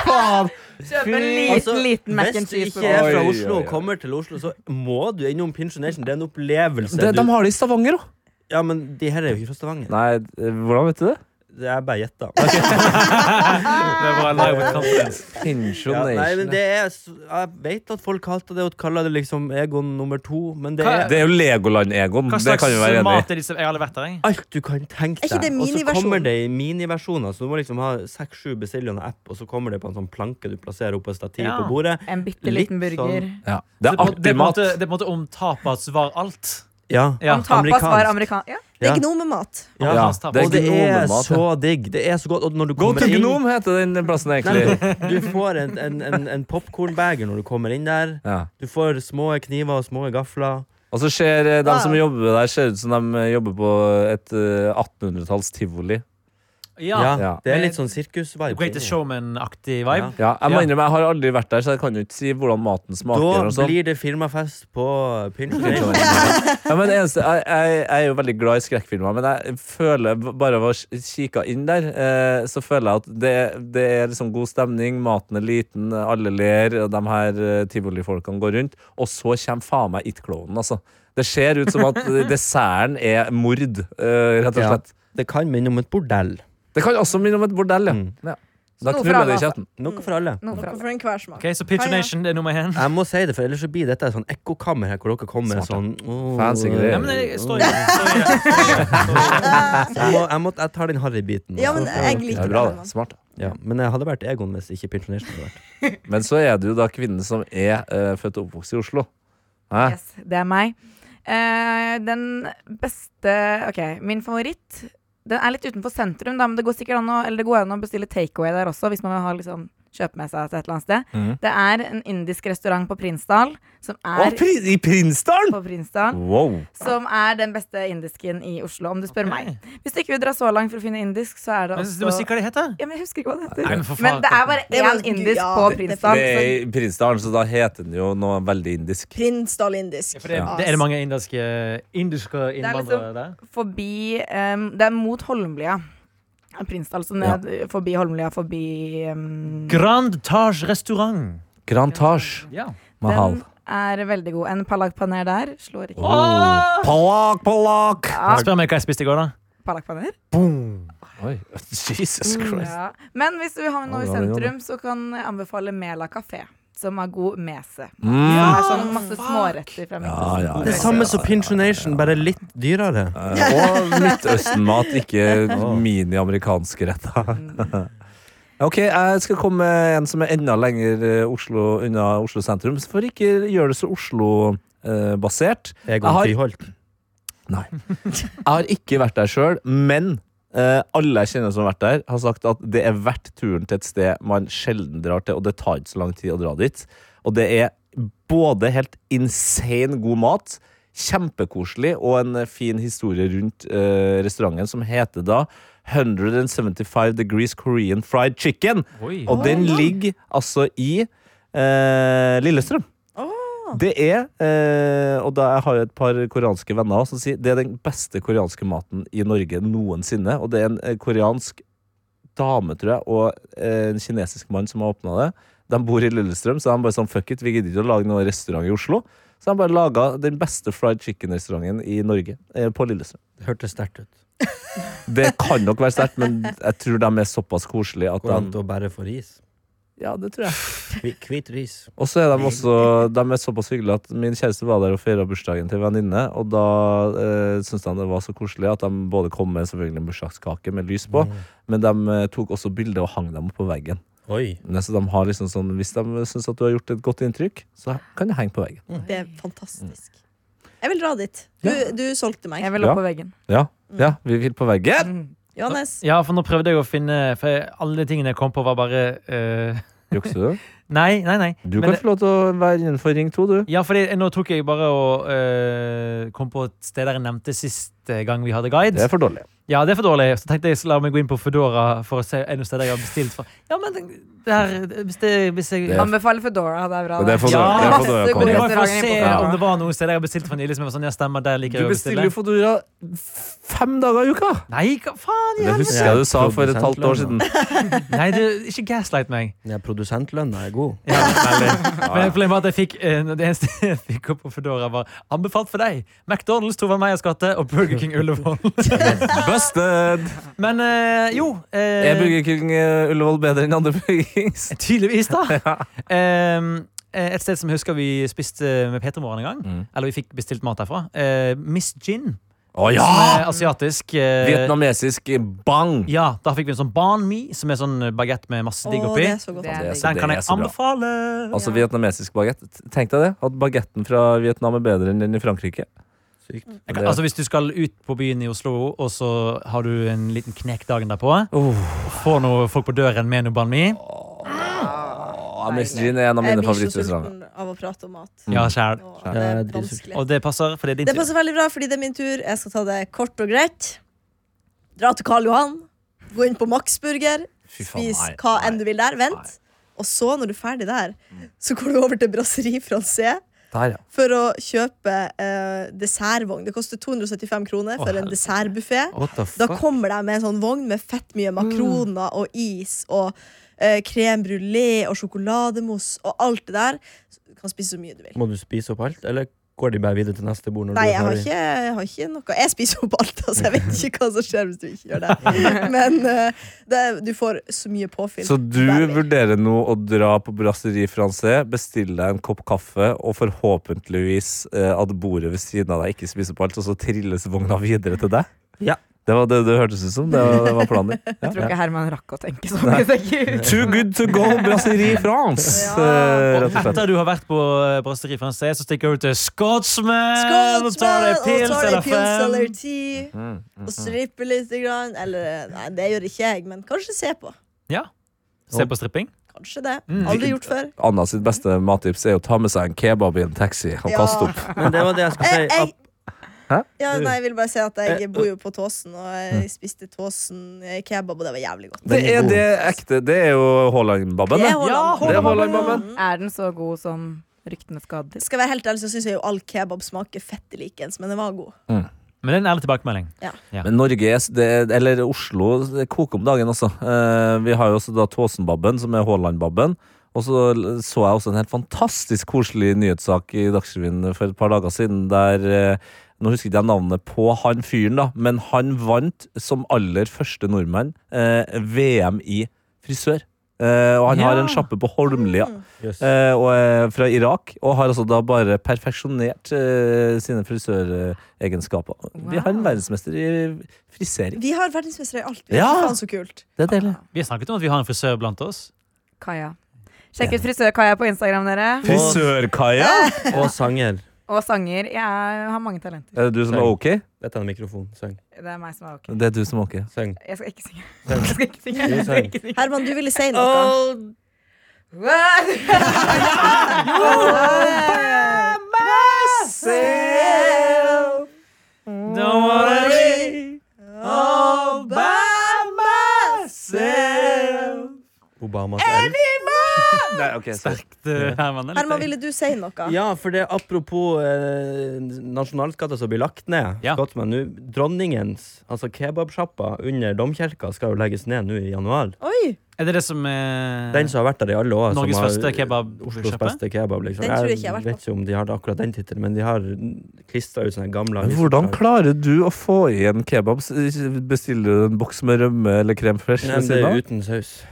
F: Faen!
C: Kjøpe en liten,
F: Altså,
C: liten mac
D: Altså, hvis
C: and
D: du
C: cheese.
D: ikke er
C: på-
D: fra
F: Oi,
D: Oslo
F: oi,
D: og
F: oi.
D: kommer til Oslo, så må du innom Pinchonation. Det er en opplevelse.
F: De, de
D: du,
F: har det i Stavanger òg.
D: ja, men de her er jo ikke fra Stavanger.
F: Nei, eh, hvordan vet du det?
D: Det er bare gjetta.
E: Det var live with confidence.
D: Ja,
F: Pensjonation.
D: nei, men det er s- Jeg vet at folk kalte det og kaller det liksom Egon nummer to, men det
E: Hva-
D: er
F: Det er jo Legoland-Egon.
E: Hva
F: Det kan vi være
E: slags
F: enig i.
E: mat er disse? Jeg har aldri vært der, jeg.
D: alt du kan tenke
B: Er ikke det
D: deg. Og så
B: miniversjon?
D: kommer det i miniversjoner, så du må liksom ha seks-sju bestillende app, og så kommer det på en sånn planke du plasserer oppå et stativ
E: Ja.
D: på bordet.
C: En bitte
D: Litt
C: liten burger.
D: sånn-
F: Ja. Det er
E: Så det
F: artig
E: er på en
F: mat.
E: måte- Det er på en måte om tapas var alt.
D: Ja.
E: Ja,
C: Om tapas var
D: amerikansk.
C: amerikansk. Ja.
B: Det
D: Ja.
B: er gnomemat.
D: Ja.
F: Ja,
E: tapas.
F: det er
D: og det er
F: gnomemat, ja.
D: så digg. Det er så godt. Og når du
F: Go
D: kommer
F: to
D: inn
F: Gnome heter den plassen egentlig.
D: Nei, men Du får en, en, en, en popcornbager når du kommer inn der.
F: Ja.
D: Du får små kniver og små gafler.
F: Og så ser eh, de
B: Ja.
F: som jobber der, ser ut som de eh, jobber på et eh, 1800-talls tivoli.
E: Ja.
D: Ja,
F: Ja.
D: Det er
E: Men-
D: litt sånn sirkusvibe.
E: Greatest Showman-aktig vibe.
F: Ja, jeg må
D: Ja.
F: innrømme, jeg har aldri vært der, så jeg kan jo ikke si hvordan maten smaker.
D: Da
F: og sånn.
D: blir det firmafest på Pinchon.
F: ja, men eneste, jeg, jeg, jeg er jo veldig glad i skrekkfilmer, men jeg føler b- bare av å kikke inn der, eh, så føler jeg at det, det er liksom god stemning, maten er liten, alle ler, og de her eh, tivolifolkene går rundt. Og så kommer faen meg It-klovnen, altså. Det ser ut som at desserten er mord, eh, rett og
D: Ja.
F: slett.
D: Det kan minne om et bordell.
F: Det kan også minne om et bordell, ja.
D: Mm.
F: ja. Da
C: Noe for
F: knuller
C: alle,
F: det i
C: altså.
F: kjeften.
D: Noe for alle.
C: Noe fra
B: Noe for enhver smak.
E: Ok, Så Pitcher
B: Ja, ja.
E: Nation det er nummer én.
D: Jeg må si det, for ellers så blir dette et sånn ekkokammer her, hvor dere kommer med sånn åh.
F: Fancy greier.
E: Ja, men det står jo står jo- står jo-
D: Så jeg, må, jeg, må, jeg tar den harrybiten.
B: Ja, men jeg
F: Det
B: liker
F: er
B: det.
F: bra,
B: Herman.
F: det. Smart.
D: Ja, men jeg hadde vært Egon hvis ikke pensjonisten hadde vært
F: Men så er det jo da kvinnen som er eh, født og oppvokst i Oslo. Hæ?
C: Yes, det er meg. Eh, den beste OK, min favoritt Den er litt utenfor sentrum, da, men det går sikkert an å, eller det går an å bestille takeaway der også, hvis man vil ha liksom, kjøpe med seg til et eller annet sted.
F: Mhm.
C: Det er en indisk restaurant på Prinsdal som er
F: Å, pri I Prinsdalen!
C: på Prinsdal,
F: Wow.
C: som er den beste indisken i Oslo, om du spør
E: Ok.
C: meg. Hvis du ikke vil dra så langt for å finne indisk, så er det
E: Men Du må
C: også
E: si hva det heter.
C: ja, men Jeg husker ikke hva det heter.
E: Nei, men for faen.
C: men det er bare
B: Det var-
C: én indisk
B: ja,
C: på
B: det- det-
C: Prinsdal.
F: Det er
C: så-
F: i Prinsdalen, så da heter den jo noe veldig indisk.
B: Prins Dahl-indisk.
E: For det,
B: Ja.
E: det er det mange indiske, indiske
C: liksom-
E: innvandrere der?
C: forbi em, Det er mot Holmlia. Prinsdal, så ned forbi Holmlia, forbi em,
E: Grand Taj restaurant.
F: Grand Taj
E: Ja.
F: Mahal.
C: Den er veldig god. En palakpaner der slår ikke
F: Oh. Palak, palak!
E: Spør meg hva jeg spiste i går, da.
C: palakpaner.
F: Oi, Jesus
C: Mm.
F: Christ.
C: Ja. Men hvis du har
F: Ja,
C: noe i
F: det er jo
C: sentrum, så kan jeg anbefale Mela kafé, som har god mese.
F: Mm.
C: Som er sånn masse småretter fra
F: Ja, ja,
D: Det
F: ja.
D: samme som Pinchonation, bare litt dyrere.
F: Eh, Og Midtøsten-mat, ikke mini-amerikansk retter. Ok, jeg skal komme med en som er enda lenger eh, Oslo, unna Oslo sentrum, for ikke gjøre det så eh, Oslo-basert.
D: Egon
F: har-
D: Friholt.
F: Nei. Jeg har ikke vært der sjøl, men eh, alle jeg kjenner som har vært der, har sagt at det er verdt turen til et sted man sjelden drar til, og det tar ikke så lang tid å dra dit. Og det er både helt insane god mat, kjempekoselig, og en eh, fin historie rundt eh, restauranten, som heter da 175 Degrees Korean Fried Chicken.
E: Oi.
F: Og den ligger altså i eh, Lillestrøm. Det er, eh, og da jeg har jo et par koreanske venner også som sier det er den beste koreanske maten i Norge noensinne. Og det er en eh, koreansk dame, tror jeg, og eh, en kinesisk mann som har åpna det. De bor i Lillestrøm, så de bare sånn fuck it, vi gidder ikke å lage noen restaurant i Oslo. Så de bare laga den beste fried chicken-restauranten i Norge, eh, på Lillestrøm.
D: Det hørtes sterkt ut.
F: Det kan nok være sterkt, men jeg tror de er såpass koselige at
D: Går det an
F: de
D: å bare få ris?
F: Ja, det tror jeg.
D: Kvi- Hvit ris.
F: Og så er de også De er såpass hyggelige at min kjæreste var der og feira bursdagen til en venninne, og da eh, syntes de det var så koselig at de både kom med selvfølgelig en bursdagskake med lys
D: Mm.
F: på, men de eh, tok også bilder og hang dem opp på veggen.
D: Oi.
F: Nei, Så de har liksom sånn Hvis de syns at du har gjort et godt inntrykk, så kan du henge på veggen.
B: Det er fantastisk. Jeg vil dra dit. Du, du solgte meg.
C: Jeg vil
F: Ja.
C: opp på veggen. Mm.
F: Ja, ja vi vil på veggen!
B: Johannes.
E: Ja, for nå prøvde jeg å finne For alle de tingene jeg kom på, var bare eh,
F: Jukser du?
E: Nei, nei, nei.
F: Du
E: Men
F: kan få lov til å være innenfor Ring 2, du.
E: Ja, fordi nå tok jeg bare og øh, kom på et sted der jeg nevnte sist eh, gang vi hadde guide.
F: Det er for dårlig.
E: Ja, det er for dårlig. Så tenkte jeg la meg gå inn på Foodora for å se er det noen steder jeg har bestilt fra. Ja, men det der, hvis, det, hvis jeg
F: Det er-
C: Anbefaler Foodora. Det er bra.
F: Det er for
E: Ja. dårlig- det er for
F: dårlig,
C: Masse
F: Conny.
C: gode
E: Men det var for å
C: restauranter
E: se
C: inne på
E: om
C: Foodora.
E: det var noen steder jeg har bestilt fra nylig som jeg var sånn, ja, stemmer, der liker
F: Du
E: jeg å
F: bestiller
E: bestille.
F: jo Fodora fem dager i uka!
E: Nei, hva faen
F: Det
E: i helvete?
F: husker jeg du sa for et halvt år siden.
E: Nei, du, ikke gaslight meg.
D: Ja, Produsentlønna er god.
E: Ja, Men problemet var at jeg fikk eh, Det eneste jeg fikk opp på Foodora, var anbefalt for deg. McDonald's, Tove Meyers gate og Burger King Ullevål.
F: Busted!
E: Men eh, jo eh,
F: Er Burger King eh, Ullevål bedre enn andre Burger Kings?
E: Tydeligvis, da. Ehm, et sted som jeg husker vi spiste med Peter Morgen en gang.
F: Mm.
E: Eller vi fikk bestilt mat derfra. eh, Miss Gin,
F: Å
E: som er asiatisk. eh,
F: Vietnamesisk bang!
E: Ja, Da fikk vi en sånn ban mi, som er sånn bagett med masse digg
B: Å, det
E: oppi.
B: er så godt.
C: Det
F: Altså,
C: er
F: Det er så-
E: Den kan jeg
F: bra.
E: anbefale.
F: Altså vietnamesisk bagett. Tenk deg det. At bagetten fra Vietnam er bedre enn den i Frankrike.
D: Sykt.
E: Jeg kan, altså Hvis du skal ut på byen i Oslo, og så har du en liten knek dagen derpå,
F: Oh.
E: får noe folk på døren med noe ban mi
F: Mm. Ah, Mixed Gin er en av
B: Jeg
F: mine
B: blir så
F: favorittrestauranter.
B: sulten av å prate om mat.
E: Ja, sjæl.
B: Og
F: Ja,
B: det er
D: det er
B: vanskelig.
E: Og det passer, for det er din
B: Det
E: tur.
B: passer veldig bra, fordi det er min tur. Jeg skal ta det kort og greit. Dra til Karl Johan. Gå inn på Max Burger.
F: Fy faen,
B: Spis
F: nei,
B: hva
F: nei, Mm.
B: enn du vil der. Vent. Og så, når du er ferdig der, så går du over til Brasserie Francais
F: Der, ja.
B: for å kjøpe eh, dessertvogn. Det koster 275 kroner for en dessertbuffé.
D: What the
B: Da
D: fuck?
B: kommer de med en sånn vogn med fett mye
F: Mm.
B: makroner og is og uh, krem brulé og sjokolademousse og alt det der. Du kan spise så mye du vil.
D: Må du spise opp alt, eller går de bare videre til neste bord? Når
B: Nei,
D: du er
B: jeg har,
D: ferdig?
B: ikke, jeg har ikke noe Jeg spiser opp alt, altså. Jeg vet ikke hva som skjer hvis du ikke gjør det. Men eh, det, du får så mye påfyll.
F: Så du
B: Der vil-
F: vurderer nå å dra på Brasserie Francais, bestille deg en kopp kaffe, og forhåpentligvis eh, at bordet ved siden av deg ikke spiser på alt, og så trilles vogna videre til deg?
D: Ja.
F: Det var det det hørtes ut som. Det var, det var planen din.
C: Jeg tror ikke Herman rakk å tenke så mye. tenker jeg.
F: Too good to go, Brasserie France!
B: Ja.
F: eh, rett og slett.
E: Etter du har vært på eh, Brasserie Francais, så stikker du til eh, Scotsman og
B: Skål,
E: tar deg
B: og
E: pils
B: tar
E: eller
B: deg pils eller
E: fem.
B: ti,
F: Mm,
B: og stripper lite grann. Eller eh, nei, det gjør ikke jeg, men kanskje se på.
E: Se på stripping.
B: Kanskje det.
E: Mm.
B: Aldri gjort før.
F: Anna sitt beste mattips er å ta med seg en kebab i en taxi og
B: Ja.
F: kaste opp.
D: Men det var det jeg skulle
B: Jeg,
D: si.
B: Eh, jeg,
D: Ap-
B: ja, nei, jeg vil bare si at jeg bor jo på Tåsen, og jeg spiste Tåsen eh, kebab, og det var jævlig godt.
F: Det er det ekte. Det er jo Haaland-babben. det.
B: Det er Haaland.
F: Det er Haaland-babben.
B: Mm.
C: Er den så god som ryktene skal til?
B: Skal jeg være helt ærlig, så syns jeg jo all kebab smaker fett likens, men den var god.
E: Men det er en ærlig tilbakemelding.
F: Men Norge, er s- det, er- eller Oslo, det koker om dagen også. Eh, vi har jo også da Tåsenbabben, som er Haaland-babben. Og så l- så jeg også en helt fantastisk koselig nyhetssak i Dagsrevyen for et par dager siden, der eh, nå husker ikke jeg navnet på han fyren, da, men han vant som aller første nordmann eh, VM i frisør. Eh, og han har
E: Ja.
F: en sjappe på Holmlia.
D: Jøss.
F: eh, og er fra Irak, og har altså da bare perfeksjonert eh, sine frisøregenskaper. Vi har en verdensmester i frisering.
B: Vi har verdensmestere i alt. Vi
F: Ja.
B: ja. faen så kult.
F: Det er deilig.
E: Vi har snakket om at vi har en frisør blant oss.
C: Kaja. Sjekk ut frisør-Kaja på Instagram, dere.
F: Frisørkaja!
D: Eh, Og sanger.
C: Og sanger. Jeg er- har mange talenter.
F: Er det Eh, du som er OK?
D: Dette er en mikrofon. Søng.
C: Det er meg som er ok.
F: Det er du som er OK.
D: Søng.
C: Jeg skal ikke synge.
D: Søng.
C: Jeg skal ikke synge.
D: Du
C: Jeg skal
D: sang.
C: ikke synge.
B: Herman, du ville si noe.
E: Don't Mm. wanna be all by myself.
D: Obamas elv.
E: Sterkt, eh, Herman. det er litt
B: Herman,
E: deg.
B: ville du si noe?
D: Ja, for det er apropos eh, nasjonalskatter som blir lagt ned.
E: Ja.
D: Skotsmenn, nå- dronningens, altså kebabsjappa under domkirka, skal jo legges ned nå i januar.
B: Oi!
E: Er det det som er
D: Den som har vært der i alle år. som
E: Eh. Norges
D: har-
E: første
F: eh,
E: kebab-
D: Oslos
E: kjøpe?
D: beste kebab, liksom.
B: Den tror jeg ikke jeg har vært
D: vet ikke om de har akkurat den tittelen, men de har klistra ut sånne gamle
F: Men
D: aviser.
F: hvordan klarer du å få i en kebab? Bestiller du en boks med rømme eller krem fresh?
D: Nei,
F: ved
D: men det
F: siden
D: er
F: av?
D: uten saus.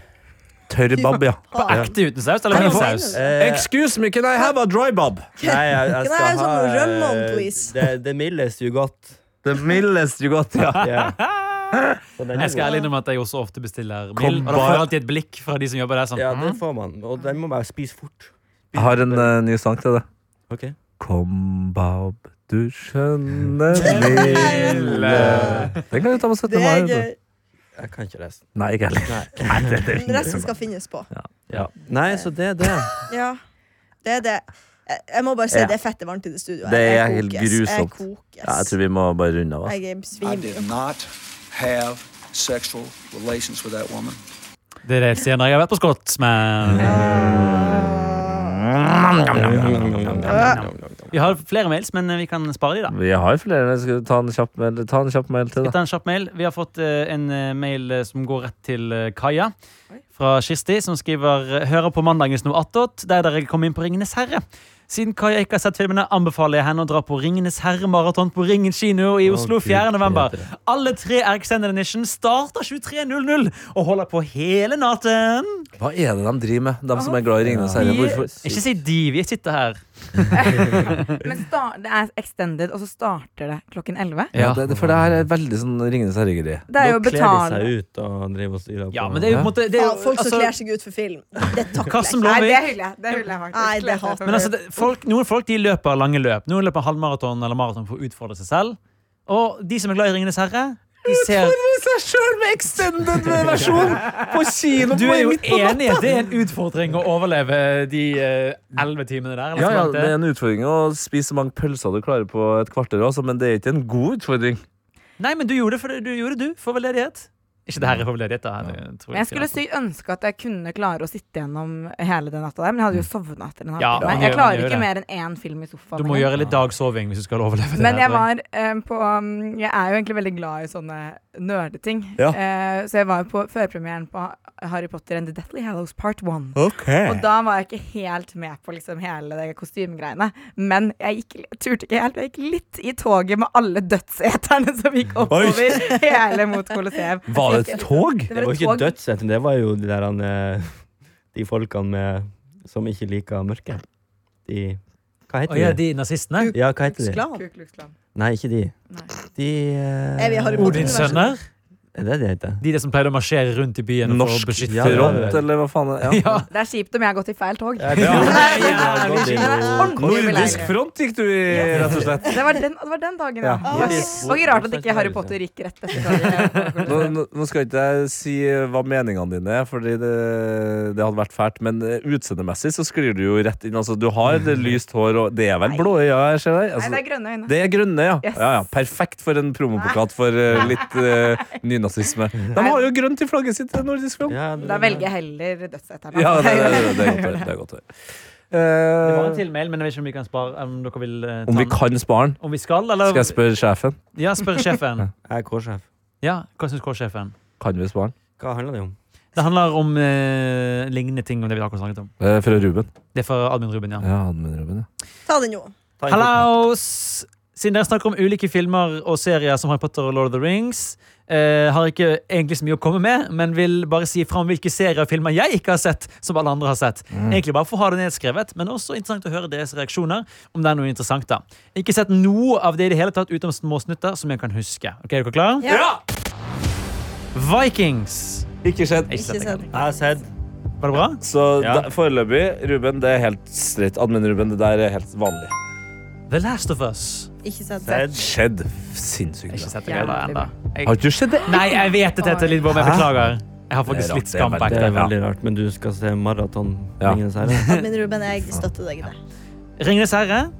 F: Tørr bab, Ah, ja.
B: Ha.
E: Ekte uten saus eller
B: Herman,
E: med saus?
B: mener du?
D: Eh,
F: Excuse me, can I have a dry bob?
D: Nei, jeg, jeg
B: Can I have
D: skal ha
B: some rum sånn, on,
D: eh,
B: please?
D: Det, det mildes jo godt.
F: The millest you got, ja.
D: Ja. Så den er
E: Jeg skal
D: god.
E: ærlig innrømme at jeg også ofte bestiller
F: Kom
E: mild. Og da får
F: bare-
E: jeg alltid et blikk fra de som jobber der. Sånn.
D: Ja,
E: mm.
D: det får man. Og den må bare spise fort.
F: Jeg har en eh, ny sang til det.
D: Ok.
F: Kom, Bob, du skjønner lille
E: Eh,
F: Den kan du ta på 17.
B: Det
F: mai.
B: er
F: du.
B: gøy.
D: Jeg kan ikke resten.
F: Nei, ikke heller.
D: Nei.
B: Men Resten skal finnes på.
D: Ja. Nei, så det er det.
B: Ja, det er det. Jeg jeg må bare si
F: Ja.
B: det er fette varmt i det studioet.
F: Det er
B: Jeg
F: helt
B: kokes. Jeg
F: grusomt.
B: kokes.
F: Ja, jeg tror vi må bare runde av. ass.
B: Jeg er
H: I
B: svimer.
H: did not have sexual relations with that woman.
E: Det er det jeg sier når jeg har vært på Skott, men Vi har flere mails, men eh, vi kan spare de, da.
F: Vi har flere. Skal du ta en kjapp mail, ta en kjapp mail til,
E: Vi
F: da?
E: tar en kjapp mail. Vi har fått eh, en eh, mail eh, som går rett til eh, Kaja. Fra Kirsti, som skriver Hører på mandagens noe attåt, der dere kom inn på Ringenes herre. Siden Kaja ikke har sett filmene, anbefaler jeg henne å dra på Ringenes herre-maraton på Ringen kino i Oslo 4. november. Alle tre er Extended Edition starter 23.00 og holder på hele natten.
F: Hva er det de driver med, de som er glad i Ringenes herre? Hvorfor?
E: Ikke si de, vi sitter her.
C: Men sta- det er extended, og så starter det klokken 11.
F: Ja, det, det- for det her er veldig sånn Ringenes herre-greie.
C: Det er jo
D: Da kler de
C: betalt.
D: seg ut og driver og styrer på.
E: Ja, men det er jo på en måte det er,
B: Ja,
E: jo-
B: folk som
E: altså,
B: kler seg ut for film. Det
E: Hva
B: takler
E: som
B: jeg ikke.
C: Nei,
E: lover-
C: det hyller jeg. Det hyller jeg faktisk.
B: Nei, det hater
E: Men altså, det, folk, noen folk de løper lange løp. Noen løper halvmaraton eller maraton for å utfordre seg selv. Og de som er glad i Ringenes herre, de ser
F: seg sjøl med extended versjon på kino!
E: Du er jo enig i at det er en utfordring å overleve de elleve timene
F: Ja,
E: der? Eller
F: ja,
E: så langt
F: det er en utfordring å spise så mange pølser du klarer på et kvarter, også, men det er ikke en god utfordring.
E: Nei, men du gjorde det, for, du, gjorde det, du for veldedighet. Ikke det her er for veldedighet, da. Det tror
C: Men jeg skulle
E: ikke,
C: sykt ønske at jeg kunne klare å sitte gjennom hele den natta der, men jeg hadde jo sovna etter en
E: Ja,
C: halvtime.
E: man
C: Jeg
E: gjør- man
C: klarer
E: gjør
C: ikke
E: det.
C: mer enn én film i sofaen.
E: altså. Du må
C: engang.
E: gjøre litt dagsoving hvis du skal overleve det.
C: Men
E: her,
C: jeg
E: tror jeg.
C: var eh, på um, Jeg er jo egentlig veldig glad i sånne nerdeting.
F: Ja.
C: Eh, så jeg var jo på førpremieren på Harry Potter and The Deathly Hallows Part 1. Og
F: Okay.
C: da var jeg ikke helt med på liksom hele det kostymegreiene. Men jeg gikk, jeg turte ikke helt. Jeg gikk litt i toget med alle dødseterne som gikk oppover hele mot Colosseum.
F: Var det et tog?
C: Det
D: Det
C: var
D: var
C: et
D: ikke
C: tog.
D: dødshetting, det var jo de der han, eh, De folkene med, som ikke liker mørke. De Hva heter
E: Å ja,
D: de?
E: de nazistene?
D: Ja, hva heter de?
B: Sklan.
C: Ku Klux Klan.
D: Nei, ikke de.
C: Nei.
D: De eh,
B: Er vi i Harry Potter?
E: Odins sønner?
D: Er det de heter?
E: De der som pleide å marsjere rundt i byen for å
F: Norsk
E: beskytte
D: ja, ja,
F: front, eller hva faen? er- Ja.
E: Ja.
C: Det er kjipt om jeg har gått i feil tog.
D: Ja.
C: Ordentlig
F: Nordisk
C: beleilig.
F: front gikk du i, rett og slett.
C: Det var den, det var den dagen, ja.
F: Ja.
C: Det var ikke-
D: Yes.
C: det var ikke rart at ikke Harry Potter gikk rett etter toget.
F: Nå, nå- nå skal ikke jeg si hva meningene dine er, Fordi det, det hadde vært fælt. Men eh, utseendemessig så sklir du jo rett inn. Altså, du har det lyst hår, og det er vel blå øyne? Ja, jeg ser deg.
C: Nei, det er
F: Altså,
C: grønne øyne.
F: det er grønne, ja.
C: Yes.
F: ja, ja. Perfekt for en promoplakat for eh, litt eh, nynazisme. De har jo grønt i flagget sitt, eh, Nordisk Front.
D: Ja,
C: Da velger jeg heller dødseterne.
F: Ja, det, det, det, det er godt å høre, det er godt å høre.
E: Det var en
F: Eh,
E: til mail, men jeg vet ikke om vi kan spare om dere vil eh, ta
F: om vi
E: den.
F: kan spare den?
E: Om vi skal, eller?
F: Skal jeg spørre sjefen?
E: Ja, spør sjefen.
D: Jeg er K-sjef.
E: Ja, hva syns K-sjefen?
F: Kan vi spare den?
D: Hva handler det om?
E: Det handler om eh, lignende ting om det vi akkurat snakket om.
F: Eh, fra Ruben.
E: Det er fra Admin Ruben, ja.
F: Ja, admin Ruben, ja.
B: Ta den jo.
D: Ta en
E: Hallaus! Siden dere snakker om ulike filmer og serier som Harry Potter og Lord of the Rings, eh, har jeg ikke egentlig så mye å komme med, men vil bare si fra om hvilke serier og filmer jeg ikke har sett, som alle andre har sett. Egentlig bare for å ha det nedskrevet, men også interessant å høre deres reaksjoner, om det er noe interessant, da. Jeg har ikke sett noe av det i det hele tatt, utenom småsnutter, som jeg kan huske. Ok, er dere klare? Vikings!
F: Ikke skjedd.
E: Jeg
B: Ikke
E: har Ikke sett det.
B: sett.
D: Jeg har sett
E: Var det bra?
F: Så
D: Ja.
F: da, foreløpig, Ruben, det er helt straight. Admin Ruben, det der er helt vanlig.
E: The Last of Us.
B: Ikke sett.
D: Sett.
F: Skjedd sinnssykt
E: Jeg har ikke
F: bra.
E: sett det greiene
C: Jævlig bra.
E: ennå. Jeg-
F: Har du sett det?
E: Nei, jeg vet det, Tete Lidbom. Jeg
F: Hæ?
E: beklager. Jeg har
F: Det
E: faktisk
F: er rart,
E: litt
F: det er
E: skamback.
D: Det
E: der.
D: er veldig rart, men du skal se maraton.
F: Ja.
D: Ringenes herre.
B: Admin Ruben, jeg støtter deg i det.
E: Ringenes herre.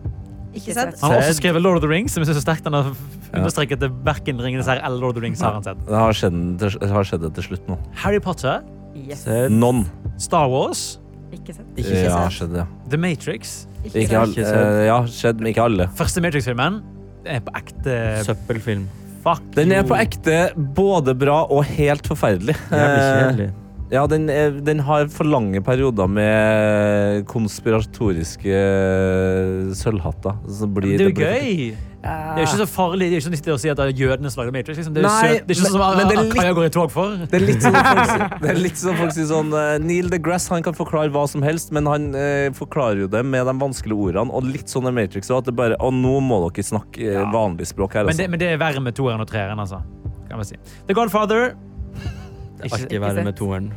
B: Ikke sett.
E: Han har også
F: Sett.
E: skrevet Lord of the Rings, som jeg synes er sterkt. Han har understreket det verken Ringenes herre eller Lord of the Rings har han sett.
F: Det har skjedd, det har skjedd det til slutt nå.
E: Harry Potter,
C: Yes.
D: Sett.
F: Non.
E: Star Wars,
C: Ikke sant?
B: Ikke sett.
F: Ja, skjedd, ja.
E: The Matrix.
F: Ikke
B: Ikke sett.
F: alle. eh, Ja, skjedd, men ikke alle.
E: Første Matrix-filmen er på ekte
D: Eh, Søppelfilm.
E: Fuck
F: Den er
E: you.
F: på ekte både bra og helt forferdelig.
D: Jævlig
F: Eh,
D: kjedelig.
F: Ja, den, er, den har for lange perioder med konspiratoriske eh, sølvhatter. Så blir
E: Det er jo
F: blir-
E: gøy. Det er jo ikke så farlig Det er jo ikke nyttig å si at det er jødene som lagde Matrix. Liksom. Det er jo
F: Nei,
E: søt. Det er ikke sånn som
F: men- men det er litt-
E: Kaja går i tog for.
F: Det er litt sånn folk, sier- det er litt sånn folk sier sånn eh, Neil deGrasse han kan forklare hva som helst, men han eh, forklarer jo det med de vanskelige ordene. Og litt sånn er Matrix også, at det bare Og nå må dere snakke eh, vanlig språk her,
E: Men
F: altså.
E: det, men det er verre med toeren og treeren, altså. Kan man si. The Godfather.
D: Ikke være med toeren.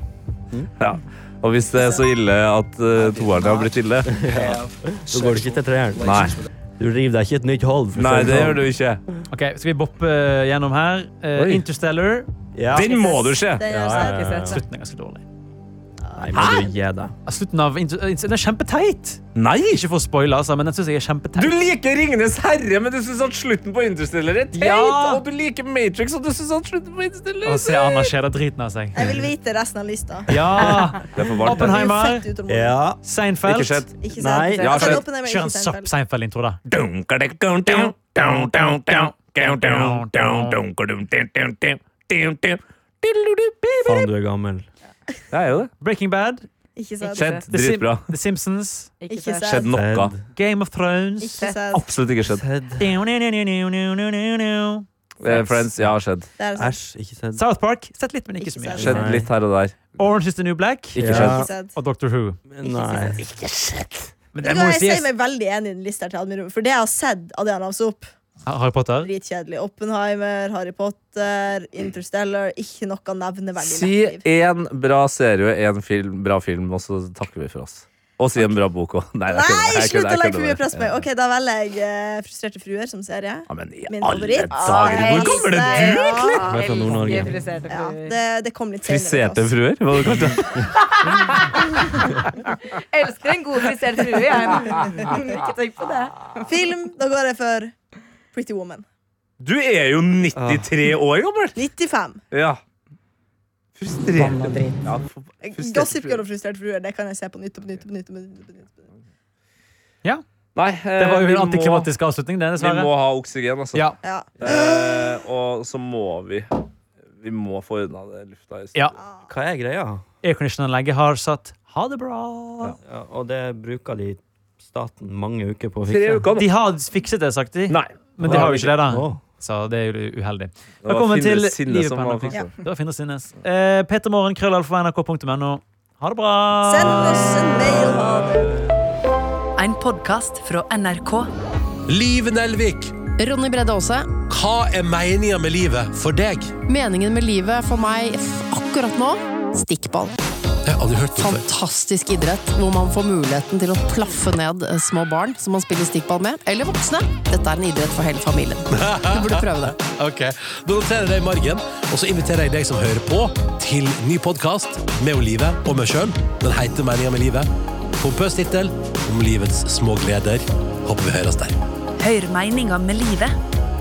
F: Ja. Og hvis det er så ille at uh, toerne har blitt ille
H: Have
D: Da går du ikke til
H: sexual
D: treeren.
F: Nei.
H: relations with
D: Du river deg ikke et nytt hold.
F: Nei, det
D: sånn.
F: gjør du ikke.
E: Ok, Skal vi boppe gjennom her? Eh,
F: Oi.
E: Interstellar.
D: Ja.
F: Den må du se!
B: Den
D: Ja,
B: har jeg
D: ja, ja.
B: sett.
E: Slutten er ganske dårlig.
B: Ja,
D: Nei, men du gi deg.
E: Slutten av intro- eh, intro- Den er kjempeteit!
F: Nei!
E: Ikke for å spoile, altså, men den syns jeg er
F: Du
E: kjempeteit.
F: liker Ringenes herre, men du syns at slutten på Interstellar er teit!
E: Ja.
F: Og du liker Matrix, og du syns at slutten på Interstellar
E: Å
F: er
E: se Anna skjære driten av seg.
B: Jeg vil vite resten av lista.
E: Ja!
F: Det er for varmt. her.
E: Oppenheimer,
B: Fett utålmodig.
D: Ja.
E: Seinfeld.
F: Ikke skjedd.
B: Ikke sant?
D: Nei,
F: ja,
B: altså,
F: skjønt.
B: Oppenheimer, ikke
E: Kjør en
B: Seinfeld.
E: kjapp Seinfeld-intro, da.
F: Faen.
D: Faen, du er gammel.
F: Det er jo det.
E: Breaking Bad.
B: Ikke sant?
F: Skjedd.
E: The, Sim
F: Dritbra.
E: The Simpsons.
B: Ikke
C: Ikke
B: sant.
F: Skjedd noe.
D: Ted.
E: Game of Thrones.
B: Ikke sant?
F: Absolutt ikke skjedd.
E: South
F: Eh, Friends, ja, skjedd.
B: Det er sant.
D: Æsj, ikke sett.
E: Park. Sett litt, men ikke så mye.
B: Ikke
F: Skjedd
D: Nei.
F: litt her og der.
E: Orange is the New Black.
F: Ikke
D: Ja.
F: skjedd.
B: Ikke sant.
E: Og Doctor Who.
D: Nei.
E: Men
B: Jeg,
E: det må jo
B: jeg sier
E: sies.
B: meg veldig enig i den lista her til Admiral, for det jeg har sett av det han ramser opp,
E: Harry Potter.
B: dritkjedelig. Oppenheimer, Harry Potter, Interstellar, ikke noe nevneverdig.
F: Si
B: i mitt liv.
F: én bra serie, én film, bra film, og så takker vi for oss. Og si en bra bok òg. Nei, jeg kødder,
B: Nei,
F: jeg
B: slutt
F: kødder,
B: å
F: jeg
B: legge for
F: kødder
B: mye
F: bare.
B: press på meg. Ok, Da velger jeg eh, Frustrerte fruer som serie.
F: Ja, men i
B: Min
F: alle
B: favoritt.
F: dager, hvor gammel er du?
B: egentlig?
D: Du er fra Nord-Norge.
B: Ja, det, det kom litt
F: Friserte
B: senere.
F: fruer? Hva du kalte det?
C: Elsker en god frisert frue, jeg. Ikke tenk på det.
B: Film, da går jeg for Pretty Woman.
F: Du er jo 93 år gammel!
B: 95.
F: Ja. Frustrert. Ja, for- frustrert.
B: Gossip Girl og Frustrerte fruer, det kan jeg se på nytt og på nytt. og på nytt, og på nytt, og på nytt.
F: Nei, eh,
E: Det var jo en antiklimatisk avslutning, det,
F: Vi må
E: dessverre.
F: ha oksygen, altså.
E: Ja.
B: Ja.
F: Eh, og så må vi Vi må få unna det lufta i
E: Ja.
D: Hva er greia?
E: Airconditionanlegget har satt ha det bra.
D: Ja, og det bruker de staten mange uker på å fikse.
F: Tre uker nå.
E: De har fikset det, sagt de.
F: Nei.
E: Men de har jo ikke det, da.
D: Å.
E: Så det er jo uheldig.
F: Det var
E: Velkommen til
F: Finnes Sinne
E: Livet
F: som
E: på
F: var
E: NRK.
F: fikset.
B: Ja.
E: Det var Finn og Sinnes. Eh, Petermorgen, krøllalfa, nrk.no. Ha det bra!
F: Ah.
B: Send oss en mail. Ha det.
I: En podkast fra NRK.
J: Liv Nelvik,
K: Ronny Bredde Aase.
J: hva er meninga med livet for deg?
K: Meningen med livet for meg f- akkurat nå stikkball.
J: Jeg har aldri hørt om det.
K: Fantastisk idrett hvor man får muligheten til å plaffe ned eh, små barn som man spiller stikkball med, eller voksne. Dette er en idrett for hele familien. Du burde prøve det.
J: Ok, Da noterer jeg det i margen, og så inviterer jeg deg som hører på, til ny podkast med Olive og meg sjøl. Den heter Meninga med livet. Pompøs tittel om livets små gleder. Håper vi høres der.
I: Hør meninga med livet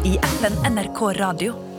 I: i appen NRK Radio.